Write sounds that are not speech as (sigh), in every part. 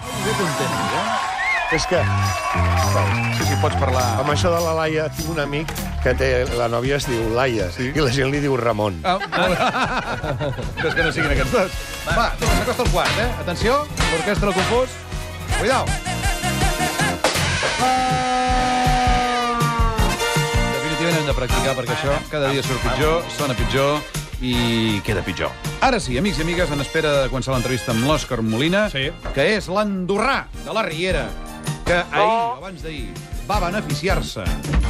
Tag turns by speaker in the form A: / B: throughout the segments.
A: molt content, eh?
B: És que
A: Sí, sí, pots parlar...
B: amb això de la Laia tinc un amic que té... La nòvia es diu Laia sí. i la gent li diu Ramon.
C: Ah, molt bé. Ves Ah, que no siguin aquests dos. Va, tu, s'acosta el quart, eh? Atenció, l'orquestra del confús. Cuidao. Definitivament hem de practicar perquè això cada dia surt pitjor, sona pitjor i queda pitjor. Ara sí, amics i amigues, en espera de començar l'entrevista amb l'Òscar Molina,
A: Sí.
C: que és l'andorrà de la Riera, que ahir, abans d'ahir, va beneficiar-se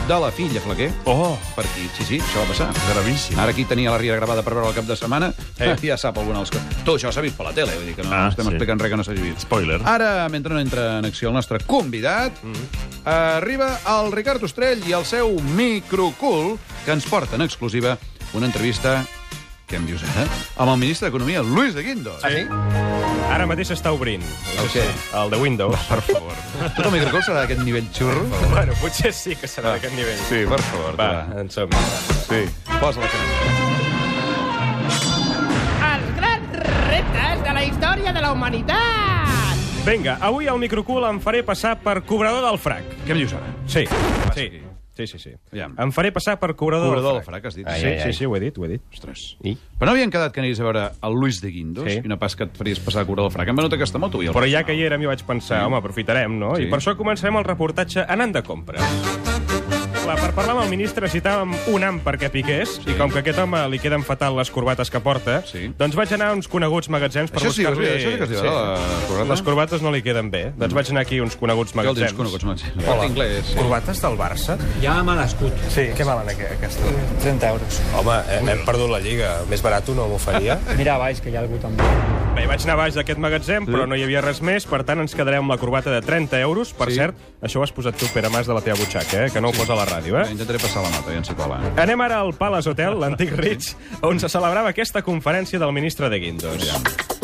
C: de la filla Flaquer.
A: Oh,
C: Per aquí, sí, sí, això va passar.
A: gravíssim.
C: Ara aquí tenia la Riera gravada per veure el cap de setmana. Eh.
A: Eh.
C: (laughs) Ja sap alguna cosa. Tu, això s'ha vist per la tele, vull dir que no ah,
A: Ah,
C: estem sí.
A: sí.
C: explicant res que no s'hagi vist.
A: Spoiler.
C: Ara, mentre no entra en acció el nostre convidat, mm -hmm. arriba el Ricard Ostrell i el seu microcul, que ens porta en exclusiva una entrevista què em dius ara? Amb el ministre d'Economia, Luis de Guindos.
D: Ah, sí? Ara mateix s'està obrint.
C: El què?
D: El de Windows.
C: Per favor. Tot el microcul serà d'aquest nivell xurro?
D: (laughs) Bueno, potser sí que serà d'aquest nivell.
C: Ah. Sí, per favor.
D: Va,
C: va.
D: en som -hi.
C: Sí. Posa la cançó.
E: Els grans reptes de la història de la humanitat!
D: Vinga, avui al microcul em faré passar per cobrador del frac.
C: Què em dius ara?
D: Sí, sí. Sí, sí, sí.
C: Ah, Aviam.
D: Em faré passar per cobrador,
C: Cobrador
D: del
C: del
D: frac.
C: frac, has dit.
D: Ai, sí, ai, sí, sí, ho he dit, ho he dit.
C: Ostres.
D: I?
C: Però no havien quedat que aniries a veure el Luis de Guindos sí.
D: Sí.
C: i no pas que et faries passar a cura del frac. Em va notar aquesta moto i el
D: Però ja que hi érem, jo vaig pensar, home, aprofitarem, no?
C: Sí.
D: I per això començarem el reportatge anant de compra. Clar, per parlar amb el ministre necessitàvem un am perquè piqués,
C: Sí.
D: i com que a aquest home li queden fatal les corbates que porta,
C: Sí.
D: doncs vaig anar a uns coneguts magatzems per
C: Això sí,
D: buscar-li...
C: això sí que es diu, la corbata.
D: Les corbates no li queden bé. Doncs vaig anar aquí a uns coneguts
C: Què el
D: magatzems.
C: tens coneguts, Manxi? Hola. Inglés. Sí.
D: Corbates del Barça?
A: Ja m'ha nascut.
F: Sí. Què valen aqu- aquestes? 30 euros.
G: Home, hem, hem perdut la Lliga. Més barat no m'ho faria?
F: (laughs) Mira a baix, que hi ha algú també.
D: Bé, vaig anar baix d'aquest magatzem, però no hi havia res més, per tant ens quedarem amb la corbata de 30 euros. Per
C: Sí.
D: cert, això ho has posat tu, Pere Mas, de la teva butxaca, eh? que no ho posa a la ràdio, eh?
C: Intentaré passar la nota, ja en sé qual va.
D: Anem ara al Palace Hotel, l'antic Ritz, on se celebrava aquesta conferència del ministre de Guindos.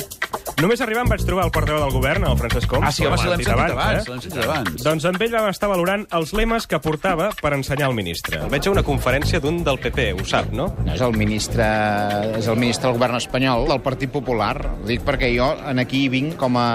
D: Només arribant vaig trobar el portaveu del govern, el Francesc Homs.
C: Ah, sí, home,
D: com
C: sí,
D: ha
C: l'hem
D: dit
C: sentit abans,
D: eh?
C: l'hem sentit abans.
D: Doncs amb ell vam estar valorant els lemes que portava per ensenyar al ministre. Veig a una conferència d'un del PP, ho sap, no?
H: No, és el ministre, és el ministre del govern espanyol del Partit Popular. Ho dic perquè jo en aquí vinc com a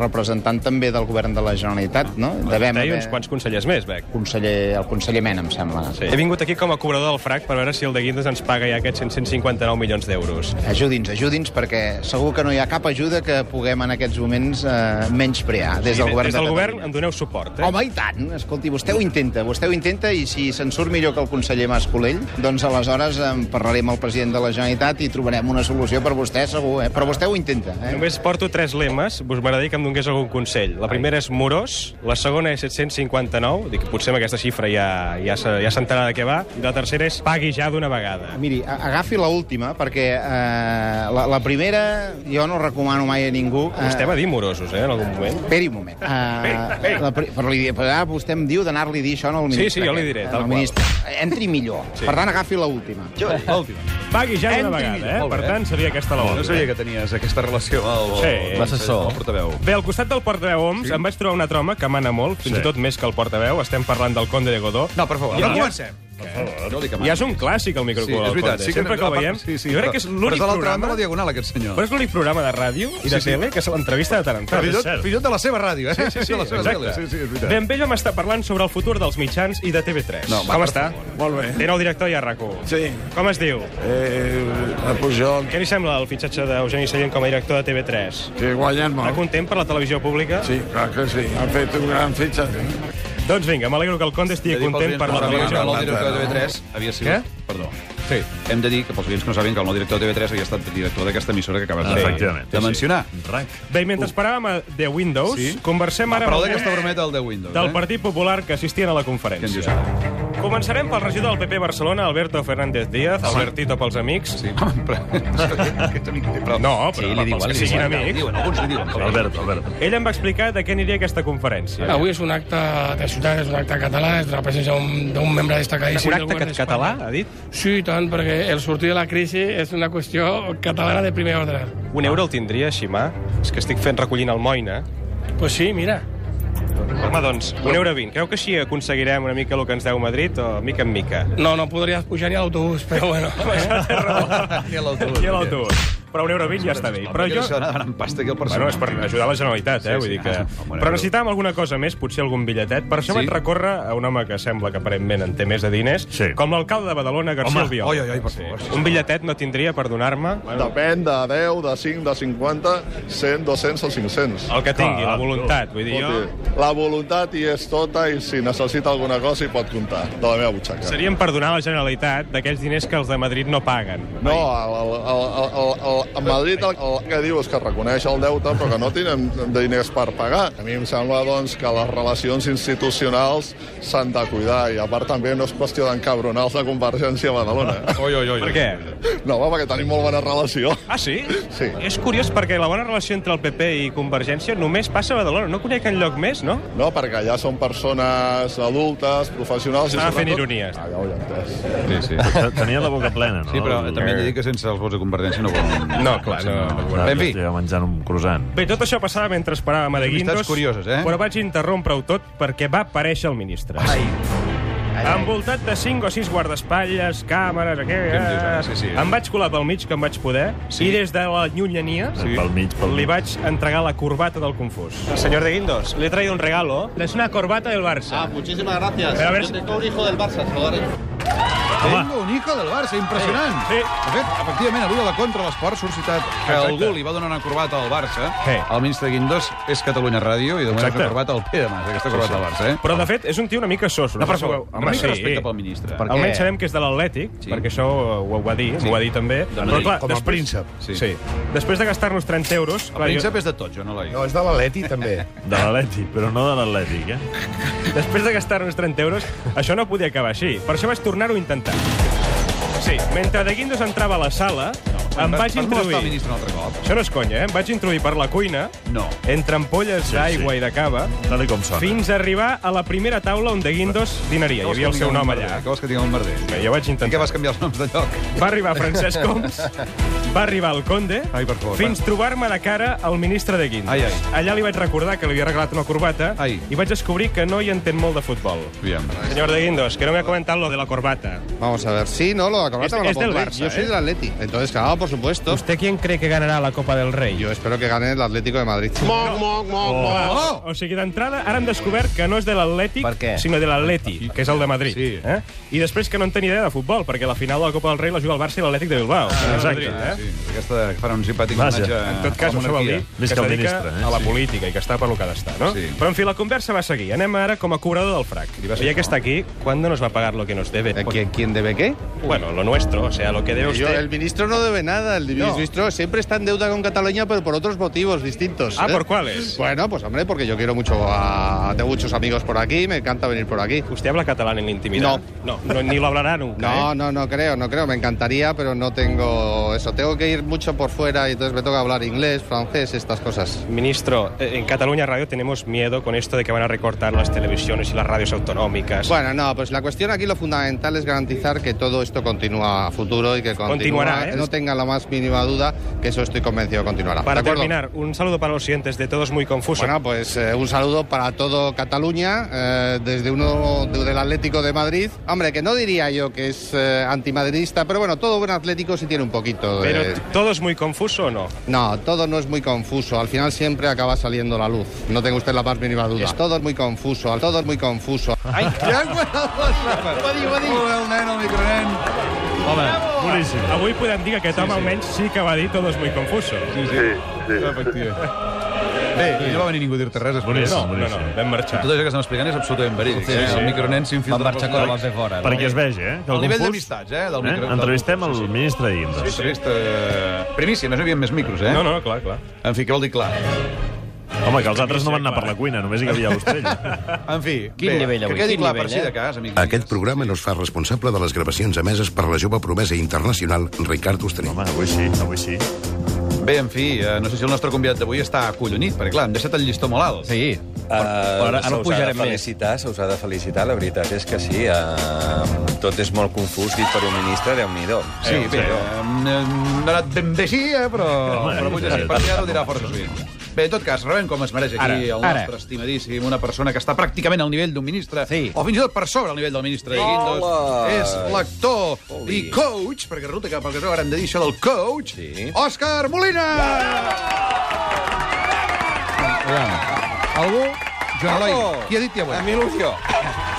H: representant també del govern de la Generalitat, no? Devem
D: Deia
H: haver...
D: uns quants consellers més, Bec.
H: Conseller, el conseller Mena, em sembla.
D: Sí. He vingut aquí com a cobrador del frac per veure si el de Guindos ens paga ja aquests 159 milions d'euros.
H: Ajudi'ns, ajudi'ns, perquè segur que no hi ha cap ajuda que puguem en aquests moments eh, menysprear des del govern
D: Des del
H: de
D: govern
H: Catalunya.
D: em doneu suport, eh?
H: Home, i tant. Escolti, vostè ho intenta, vostè ho intenta, i si se'n surt millor que el conseller Mascolell, doncs aleshores en parlaré amb el president de la Generalitat i trobarem una solució per vostè, segur, eh? Però vostè ho intenta, eh?
D: Només porto tres lemes, us m'agradaria que em donés algun consell. La primera és morós, la segona és 759, dic, potser amb aquesta xifra ja, ja, se- ja s'entrarà de què va, i la tercera és pagui ja d'una vegada.
H: Ah, Miri, a- agafi la última, perquè eh, la, la primera jo no recomano mai a ningú. Eh,
D: Vostè va dir morosos, eh, en algun moment.
H: Esperi un moment.
I: Ah,
H: Uh, la, pri- però, li, però ara vostè em diu d'anar-li a dir això al ministre.
D: sí, jo li
H: aquest,
D: diré,
H: eh,
D: tal
H: al
D: qual.
H: ministre. Entri millor. Sí. Per tant, agafi la última. Jo...
D: Pagui ja
C: Entri,
D: d'una vegada, eh?
C: molt bé.
D: Per tant, seria aquesta la
C: No
D: bona.
C: sabia que tenies aquesta relació amb el,
D: Sí.
C: el,
A: L'assessor.
C: el portaveu.
D: Bé, al costat del portaveu OMS sí. em vaig trobar un altre home que mana molt, fins sí. i tot més que el portaveu. Estem parlant del conde de Godó.
C: No, per favor,
D: Ja- Eh?
C: no comencem. Per favor. No li que
D: Ja
C: manis.
D: és un clàssic, el
C: Sí,
D: microcul
C: és
D: del
C: veritat.
D: conde.
C: Sí que
D: Sempre que el
C: a part-
D: veiem...
C: Sí, sí,
D: jo crec
C: però-
D: que és
C: Però és
D: l'únic
C: de l'altra
D: programa...
C: banda de la diagonal, aquest senyor.
D: Però és l'únic programa de ràdio i de
C: Sí, sí.
D: tele que se l'entrevista de tant en tant.
C: Fins i
D: És
C: tot,
D: cert.
C: fins i tot de la seva ràdio, eh? Sí,
D: Sí,
C: de la seva
D: exacte.
C: tele. Sí, sí, és veritat.
D: Ben bé, vam estar parlant sobre el futur dels mitjans i de TV3.
C: No, va,
D: Com
C: per
D: està? Molt bé. Té nou director ja, RAC1.
J: Sí.
D: Com es diu?
J: Eh, el Pujol,
D: Què li sembla el fitxatge d'Eugeni Sallent com a director de TV3?
J: que guanyat
D: Està
J: molt.
D: content per la televisió pública?
J: Sí, clar que sí. Ha fet un gran fitxatge.
D: Doncs vinga, m'alegro que el Conde estigui content per la televisió.
C: El nou director de TV3 havia sigut... Què? Perdó. Sí. Hem de dir que pels oients que no saben que el nou director de TV3 havia estat director d'aquesta emissora que acabes de,
A: Efectivament.
C: de mencionar.
A: Rac.
D: Bé, i mentre esperàvem a The Windows,
C: Sí.
D: conversem
C: Va,
D: ara
C: prou
D: amb
C: d'aquesta brometa del de Windows,
D: del
C: eh?
D: Partit Popular que assistien a la
C: Què en dius
D: conferència.
C: ara?
D: Començarem pel regidor del PP Barcelona, Alberto Fernández Díaz, Albertito pels amics.
C: Sí, (laughs) home, però... Aquests amics té prou.
D: No, però
C: li diuen,
D: pels que
C: li
D: siguin
C: diuen,
D: amics.
C: Diuen, alguns li diuen.
A: Alberto, Alberto.
D: Ell em va explicar de què aniria aquesta conferència.
K: Avui és un acte de ciutat, és un acte català, és la presència d'un d'un membre destacadíssim
D: Un
K: del
D: acte
K: govern
D: cat-
K: d'Espanya.
D: català, ha dit?
K: Sí, i tant, perquè el sortir de la crisi és una qüestió catalana de primer ordre.
D: Un euro el tindria així, mà? És que estic fent recollint el moina.
K: Pues sí, mira.
D: Home, doncs, un euro vint. Creu que així aconseguirem una mica el que ens deu Madrid o mica en mica? (laughs)
K: No, no podries pujar ni a l'autobús, però bueno.
D: Això té raó.
C: Ni a l'autobús.
D: Ni a l'autobús. però un euro vint ja està bé. Però jo...
C: Això anar demanant pasta aquí al
D: Bueno,
C: personal.
D: és per ajudar la Generalitat, eh?
C: Sí,
D: Vull
C: sí.
D: dir que...
C: Ah, home,
D: Però necessitàvem alguna cosa més, potser algun bitlletet. Per això
C: Sí.
D: vaig recórrer a un home que sembla que aparentment en té més de diners,
L: Sí.
D: com l'alcalde de Badalona, García
L: Home,
D: Albiol.
L: oi, oi, oi, per favor, sí,
D: Un bitlletet no tindria per donar-me.
L: Depèn de 10, de 5, de 50, 100, 200 o 500.
D: El que tingui, la voluntat, vull dir, jo-
L: Escolti, La voluntat hi és tota i si necessita alguna cosa hi pot comptar, de la meva butxaca.
D: Serien per donar a la Generalitat d'aquells diners que els de Madrid no paguen.
L: No, el, el, el, el, el, a Madrid el, el que diu és que reconeix el deute però que no tenen diners per pagar. A mi em sembla doncs, que les relacions institucionals s'han de cuidar i a part també no és qüestió d'encabronar els de Convergència a Badalona.
C: Oi, oi, oi.
D: Per què?
L: No, home, perquè tenim molt bona relació.
D: Ah, sí?
L: Sí.
D: És curiós perquè la bona relació entre el PP i Convergència només passa a Badalona. No conec enlloc més, no?
L: No, perquè allà són persones adultes, professionals... i
D: Estava fent
L: sobretot-
D: ironies.
L: Ah, ja ho he entès.
C: Sí, sí.
M: Tenia la boca plena, no?
C: Sí, però també he de dir que sense els vots de Convergència no volen...
D: No, clar, no.
C: Bé, en fi,
M: Estic menjant un croissant.
D: Bé, tot això passava mentre esperàvem a De
C: Amistats
D: Guindos,
C: curioses, eh?
D: però vaig interrompre-ho tot perquè va aparèixer el ministre. Ai. Envoltat de 5 o 6 guardaespatlles, càmeres,
C: Què em dius, ara?
D: aquella...
C: Sí, sí, eh?
D: Em vaig colar pel mig, que em vaig poder, sí. i des de la llunyania
M: Sí. Pel mig, pel
D: li
M: mig.
D: vaig entregar la corbata del confús. Senyor De Guindos, le he traído un regalo. Es una corbata del Barça. Ah,
I: Muchísimas gracias.
D: Pero a ver si-
I: Yo tengo un hijo del Barça, jugadores.
C: Tengo un hijo del Barça, impressionant.
D: Sí.
C: De fet, efectivament, avui a la contra l'esport surt citat que
D: Exacte.
C: algú li va donar una corbata al Barça.
D: Sí.
C: El ministre Guindós és Catalunya Ràdio i de moment és
D: Exacte.
C: una corbata al Pere Mas, aquesta corbata al Barça, eh?
D: Però, de fet, és un tio una mica sos.
C: No, per
D: sé si ho
C: favor,
D: veu.
C: una mica respecte pel ministre. Per què?
D: Almenys sabem que és de l'Atlètic, sí. perquè això ho, ho va dir, sí. ho va dir també.
C: Madrid.
B: Com a príncep.
D: Sí. sí. Després de gastar-nos 30 euros...
C: El príncep és de tot, jo no l'he.
B: No, és de l'Atleti, també.
M: De l'Atlètic, però no de l'Atlètic,
C: (laughs)
M: eh?
D: Després de gastar-nos 30 euros, això no podia acabar així. Per això vaig tornar-ho a intentar. Sí, mentre De Guindos entrava a la sala, em
C: Vas-
D: vaig
C: vas molestar el
D: introduir...
C: ministre un altre cop?
D: Això no és conya, eh? Em vaig introduir per la cuina,
C: No.
D: entre ampolles d'aigua i de cava,
M: Tal i com sona.
D: fins a arribar a la primera taula on De Guindos dinaria. Hi havia el seu nom allà.
C: Què vols que tingui un merder?
D: Bé, Jo vaig
C: I què
D: intentar.
C: vas canviar els noms de lloc?
D: Va arribar Francesc Homs, va arribar el Conde,
C: Ai, per favor,
D: fins trobar-me de cara al ministre de Guindos.
C: Ai, ai.
D: Allà li vaig recordar que li havia regalat una corbata
C: Ai.
D: i vaig descobrir que no hi entén molt de futbol.
C: Aviam.
D: Señor de Guindos, que no me ha comentado lo de la corbata.
I: Vamos a ver. Sí, no, lo acabas
D: Este-
I: de
D: es del Barça,
I: Yo soy
D: ¿eh?
I: del Atleti. Entonces, claro, por supuesto.
D: ¿Usted quién cree que ganará la Copa del Rey?
I: Yo espero que gane el Atlético de Madrid.
L: Moc, moc, moc, moc.
D: Oh! O sigui, d'entrada, ara hem descobert que no és de l'Atlètic,
I: Per què?
D: sinó de l'Atleti, que és el de Madrid. Sí. Eh? I després que no en tenia idea de futbol, perquè la final de la Copa del Rei la juga el Barça i l'Atlètic de Bilbao. Ah, Exacte. Eh?
C: Sí, aquesta farà un simpàtic
M: Vaja.
C: homenatge
D: En tot
C: a la
D: cas, això vol dir
C: monarquia.
D: que
M: Més
D: es
M: que el
D: dedica
M: ministre, eh?
D: a la
M: Sí.
D: política i que està pel que ha d'estar, no?
C: Sí.
D: Però, en fi, la conversa va seguir. Anem ara com a cobrador del frac. Ja que està aquí, ¿cuándo nos va a pagar lo que nos debe?
I: ¿Eh, ¿Quién, quién debe qué?
D: Bueno, lo nuestro, o sea, lo que debe
I: Yo-
D: usted...
I: el ministro no debe nada. El
D: No.
I: ministro siempre está en deuda con Cataluña, pero por otros motivos distintos.
D: Ah,
I: ¿eh?
D: ¿por cuáles?
I: Bueno, pues hombre, porque yo quiero mucho a... Tengo muchos amigos por aquí, me encanta venir por aquí.
D: ¿Usted habla catalán en la intimidad? No. No, ni lo hablará nunca,
I: No,
D: ¿eh?
I: no, no creo, no creo. Me encantaría, pero no tengo eso. Tengo que ir mucho por fuera y entonces me toca hablar inglés, francés, estas cosas.
D: Ministro, eh, en Cataluña Radio tenemos miedo con esto de que van a recortar las televisiones y las radios autonómicas.
I: Bueno, no, pues la cuestión aquí lo fundamental es garantizar que todo esto continúa a futuro y que continúa-
D: Continuará, ¿eh?
I: No tenga la más mínima duda que eso estoy convencido continuará.
D: Para
I: ¿De acuerdo?
D: terminar, un saludo para los siguientes de Todos Muy Confuso.
I: Bueno, pues eh, un saludo para todo Cataluña, eh, desde uno de- del Atlético de Madrid. Hombre, que no diría yo que es eh, antimadridista, pero bueno, todo buen atlético sí tiene un poquito de...
D: Pero, ¿todo es muy confuso o no?
I: No, todo no es muy confuso. Al final siempre acaba saliendo la luz. No tenga usted la más mínima duda. Todo es muy confuso, todo es muy confuso.
D: Ai,
C: Ja (laughs) han guanyat les rapes. Va dir, va dir. Molt bé, el nen, el micronen.
M: Home, boníssim.
D: Avui podem dir que aquest home almenys sí que va dir Todo es muy confuso.
C: Sí, sí. sí. Efectivament. Bé, i no va venir ningú a dir-te res. després.
M: Boníssim,
D: No, no, no,
M: boníssim.
D: vam marxar.
C: Tot això que estem explicant és absolutament verídic. Sí, sí. El micronen s'infiltra... Van marxar quan vas fer fora.
M: Perquè es vegi, eh? Que
C: El nivell
M: confús-
C: d'amistats, eh, del
M: eh?
C: micro-
M: Entrevistem el ministre Guindos.
C: Entrevista... Primícia, eh, no hi havia més micros, eh?
D: No, no, clar, clar.
C: En fi, què vol dir clar?
M: Home, que els altres no van anar per la cuina, només hi havia l'Ostrell.
C: En fi,
N: Quin
C: bé,
N: nivell
C: que
N: avui,
C: quedi
N: quin
C: clar
N: nivell,
C: per si
N: eh?
C: de cas, amic.
O: Aquest programa no es fa responsable de les gravacions emeses per la jove promesa internacional Ricard Ostrell.
M: Home, avui sí, avui sí.
C: Bé, en fi, eh, no sé si el nostre convidat d'avui està acollonit, perquè clar, hem deixat el llistó molt alt.
N: Sí. Uh,
C: ara-
N: ara,
C: ara
N: ara
C: ho
N: pujarem
C: pujarem
N: més. Felicitar, se us ha de felicitar, la veritat és que sí. Uh, tot és molt confús dit per un ministre, déu nhi
C: Sí, bé, eh, no ha anat ben bé així, eh, però, però potser sí, per allà ho dirà força sovint. Bé, en tot cas, rebem com es mereix aquí
P: Ara,
C: el
P: ara.
C: nostre estimadíssim, una persona que està pràcticament al nivell d'un ministre, sí. o fins i tot per sobre al nivell del ministre de Guindos.
P: Hola.
C: És l'actor i coach, perquè resulta que pel que es veu ara hem de dir això del coach, sí. Òscar Molina! Aviam, Algú? Joan Eloi,
B: Bravo.
C: qui ha dit tia buena?
B: A mi il·lusió.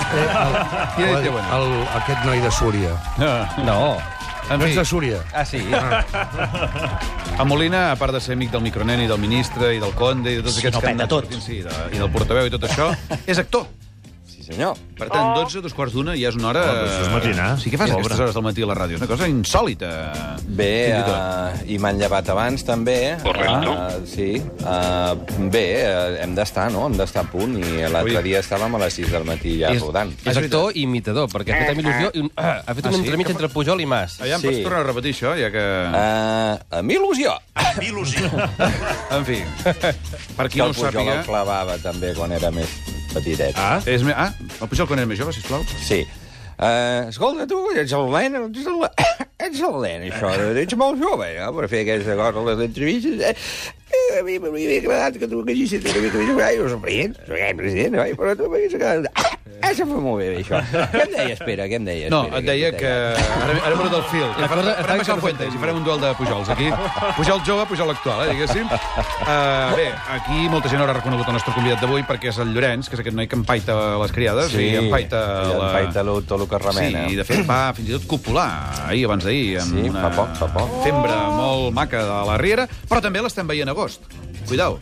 B: Eh, el,
C: Qui ha dit tia
B: el,
C: buena?
B: el, aquest noi de Súria.
C: No. En
B: No
C: fi.
B: ets de Súria.
P: Ah, sí?
C: A Molina, a part de ser amic del micronen i del ministre i del conde i de tots
P: Sí,
C: aquests
P: no,
C: que han
P: peta
C: anat
P: tot.
C: sortint, Sí, de, I del portaveu i tot això, és actor.
P: Sí, senyor.
C: Per tant, 12, dos quarts d'una, ja és una hora...
P: Oh, però això és matinar.
C: Sí, què fas a
P: Pobre.
C: aquestes hores del matí a la ràdio? És una cosa insòlita.
N: Bé,
C: Fins i tot.
N: uh, i m'han llevat abans, també. Correcte. Uh, sí. Uh, bé, uh, hem d'estar, no? Hem d'estar a punt. I l'altre dia estàvem a les 6 del matí ja
Q: És-
N: rodant.
Q: És actor i imitador, perquè ha fet amb il·lusió... I un, ah, ha fet
N: Ah,
Q: un
N: sí?
Q: entremig entre Pujol i Mas.
C: Aviam, pots tornar a repetir això, ja que...
N: Uh, a mi il·lusió. A mi il·lusió.
C: en fi, per qui
N: que
C: no
N: el
C: ho
N: Pujol
C: sàpiga...
N: el clavava, també, quan era més petitet.
C: Ah? És me... ah, el Pujol quan era més jove, sisplau.
N: Sí. Uh, escolta, tu ets el nen, ets el, (coughs) ets el nen, això. Ets molt jove, no?, per fer aquesta cosa, les entrevistes. Eh, eh, a mi m'hauria agradat que tu m'haguessis una mica més gran. Jo soc president, soc el president, oi? però tu m'haguessis agradat... (coughs) Ah, això fa molt bé, bé, això. Què em deia, espera, què em deia?
C: No,
N: espera,
C: et deia que... eh, Ara, ara m'he el fil.
N: La
C: Ja farem,
N: cosa-
C: farem
N: estava
C: això a Fuentes i farem un duel de Pujols, aquí. Pujol jove, Pujol actual, eh,
N: (laughs)
C: diguéssim. Uh, bé, aquí molta gent haurà reconegut el nostre convidat d'avui perquè és el Llorenç, que és aquest noi que empaita les criades
N: Sí,
C: i empaita...
N: i
C: eh, la-
N: empaita lo- tot el que remena.
C: Sí, i de fet va fins i tot copular ahir, abans d'ahir, amb
N: Sí,
C: una
N: fa poc, fa poc.
C: fembra molt maca de la Riera, però també l'estem veient a agost. Cuidao.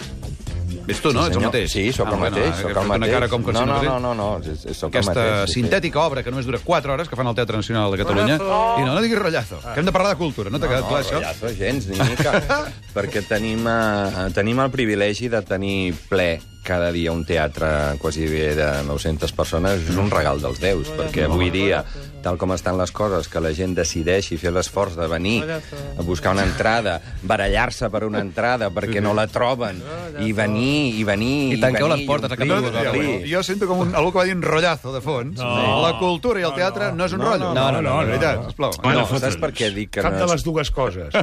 C: Ets tu, no? Ets
N: Sí,
C: el
N: senyor.
C: mateix.
N: Sí,
L: Ah,
N: sóc el
C: bueno, eh,
N: mateix, sóc
C: que
N: el
C: fa Una
N: mateix.
C: cara com que
N: No,
C: si
N: no,
C: fos ell.
N: no, no, no, és- és- sóc el
C: Aquesta
N: mateix, sí, sí.
C: sintètica obra que només dura 4 hores, que fan al Teatre Nacional de Catalunya.
N: Rollazo.
C: I no, no diguis rotllazo, que hem de parlar de cultura. No t'ha quedat clar, això?
N: rotllazo, gens, ni
L: (laughs)
N: mica. perquè tenim, eh, tenim el privilegi de tenir ple cada dia un teatre quasi bé de 900 persones és un regal dels déus, perquè avui dia, tal com estan les coses, que la gent decideixi fer l'esforç de venir a buscar una entrada, barallar-se per una entrada perquè no la troben, i venir, i venir...
Q: I tanqueu
N: venir,
Q: les portes a
N: omplir,
Q: cada un.
N: i omplir.
C: Jo sento com un, algú que va dir un rotllazo de fons.
N: No.
C: La cultura i el teatre no, és un rotllo.
N: no, no, no,
C: de veritat,
N: no.
C: sisplau.
N: Bueno, No, saps per què dic que Cap no de és- les
C: dues coses.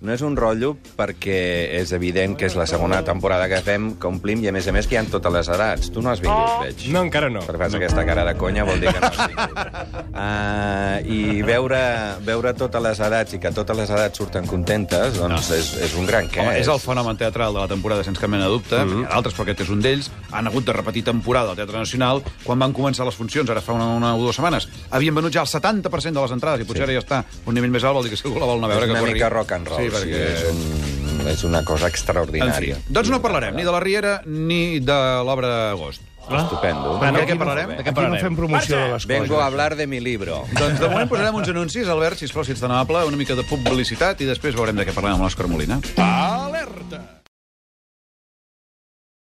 N: No és un rotllo perquè és evident que és la segona temporada que fem, que omplim, i a més a més que hi ha en totes les edats. Tu no has vingut, veig. No, encara no. Perquè fas aquesta cara de conya, vol dir que no has vingut. uh, I veure, veure totes les edats i que totes les edats surten contentes, doncs és, és un gran què.
C: Ah. Home, és el fenomen teatral de la temporada, sense cap mena de dubte. Mm -hmm. Altres, però aquest és un d'ells, han hagut de repetir temporada al Teatre Nacional. Quan van començar les funcions, ara fa una, una o dues setmanes, havien venut ja el 70% de les entrades i potser sí. ara ja està un nivell més alt, vol dir que si algú la vol anar a veure...
N: És una
C: que corri.
N: mica rock and roll,
C: Sí, perquè...
N: sí, és un- és una cosa extraordinària.
C: En fi, doncs no parlarem ni de la Riera ni de l'obra d'agost.
N: Ah. Estupendo.
C: Bueno, de què parlarem? De què parlarem?
N: Vengo a hablar de mi libro.
C: Doncs de moment posarem uns anuncis, Albert, sisplau, si ets tan amable, una mica de publicitat i després veurem de què parlem amb l'Òscar Molina.
P: Alerta!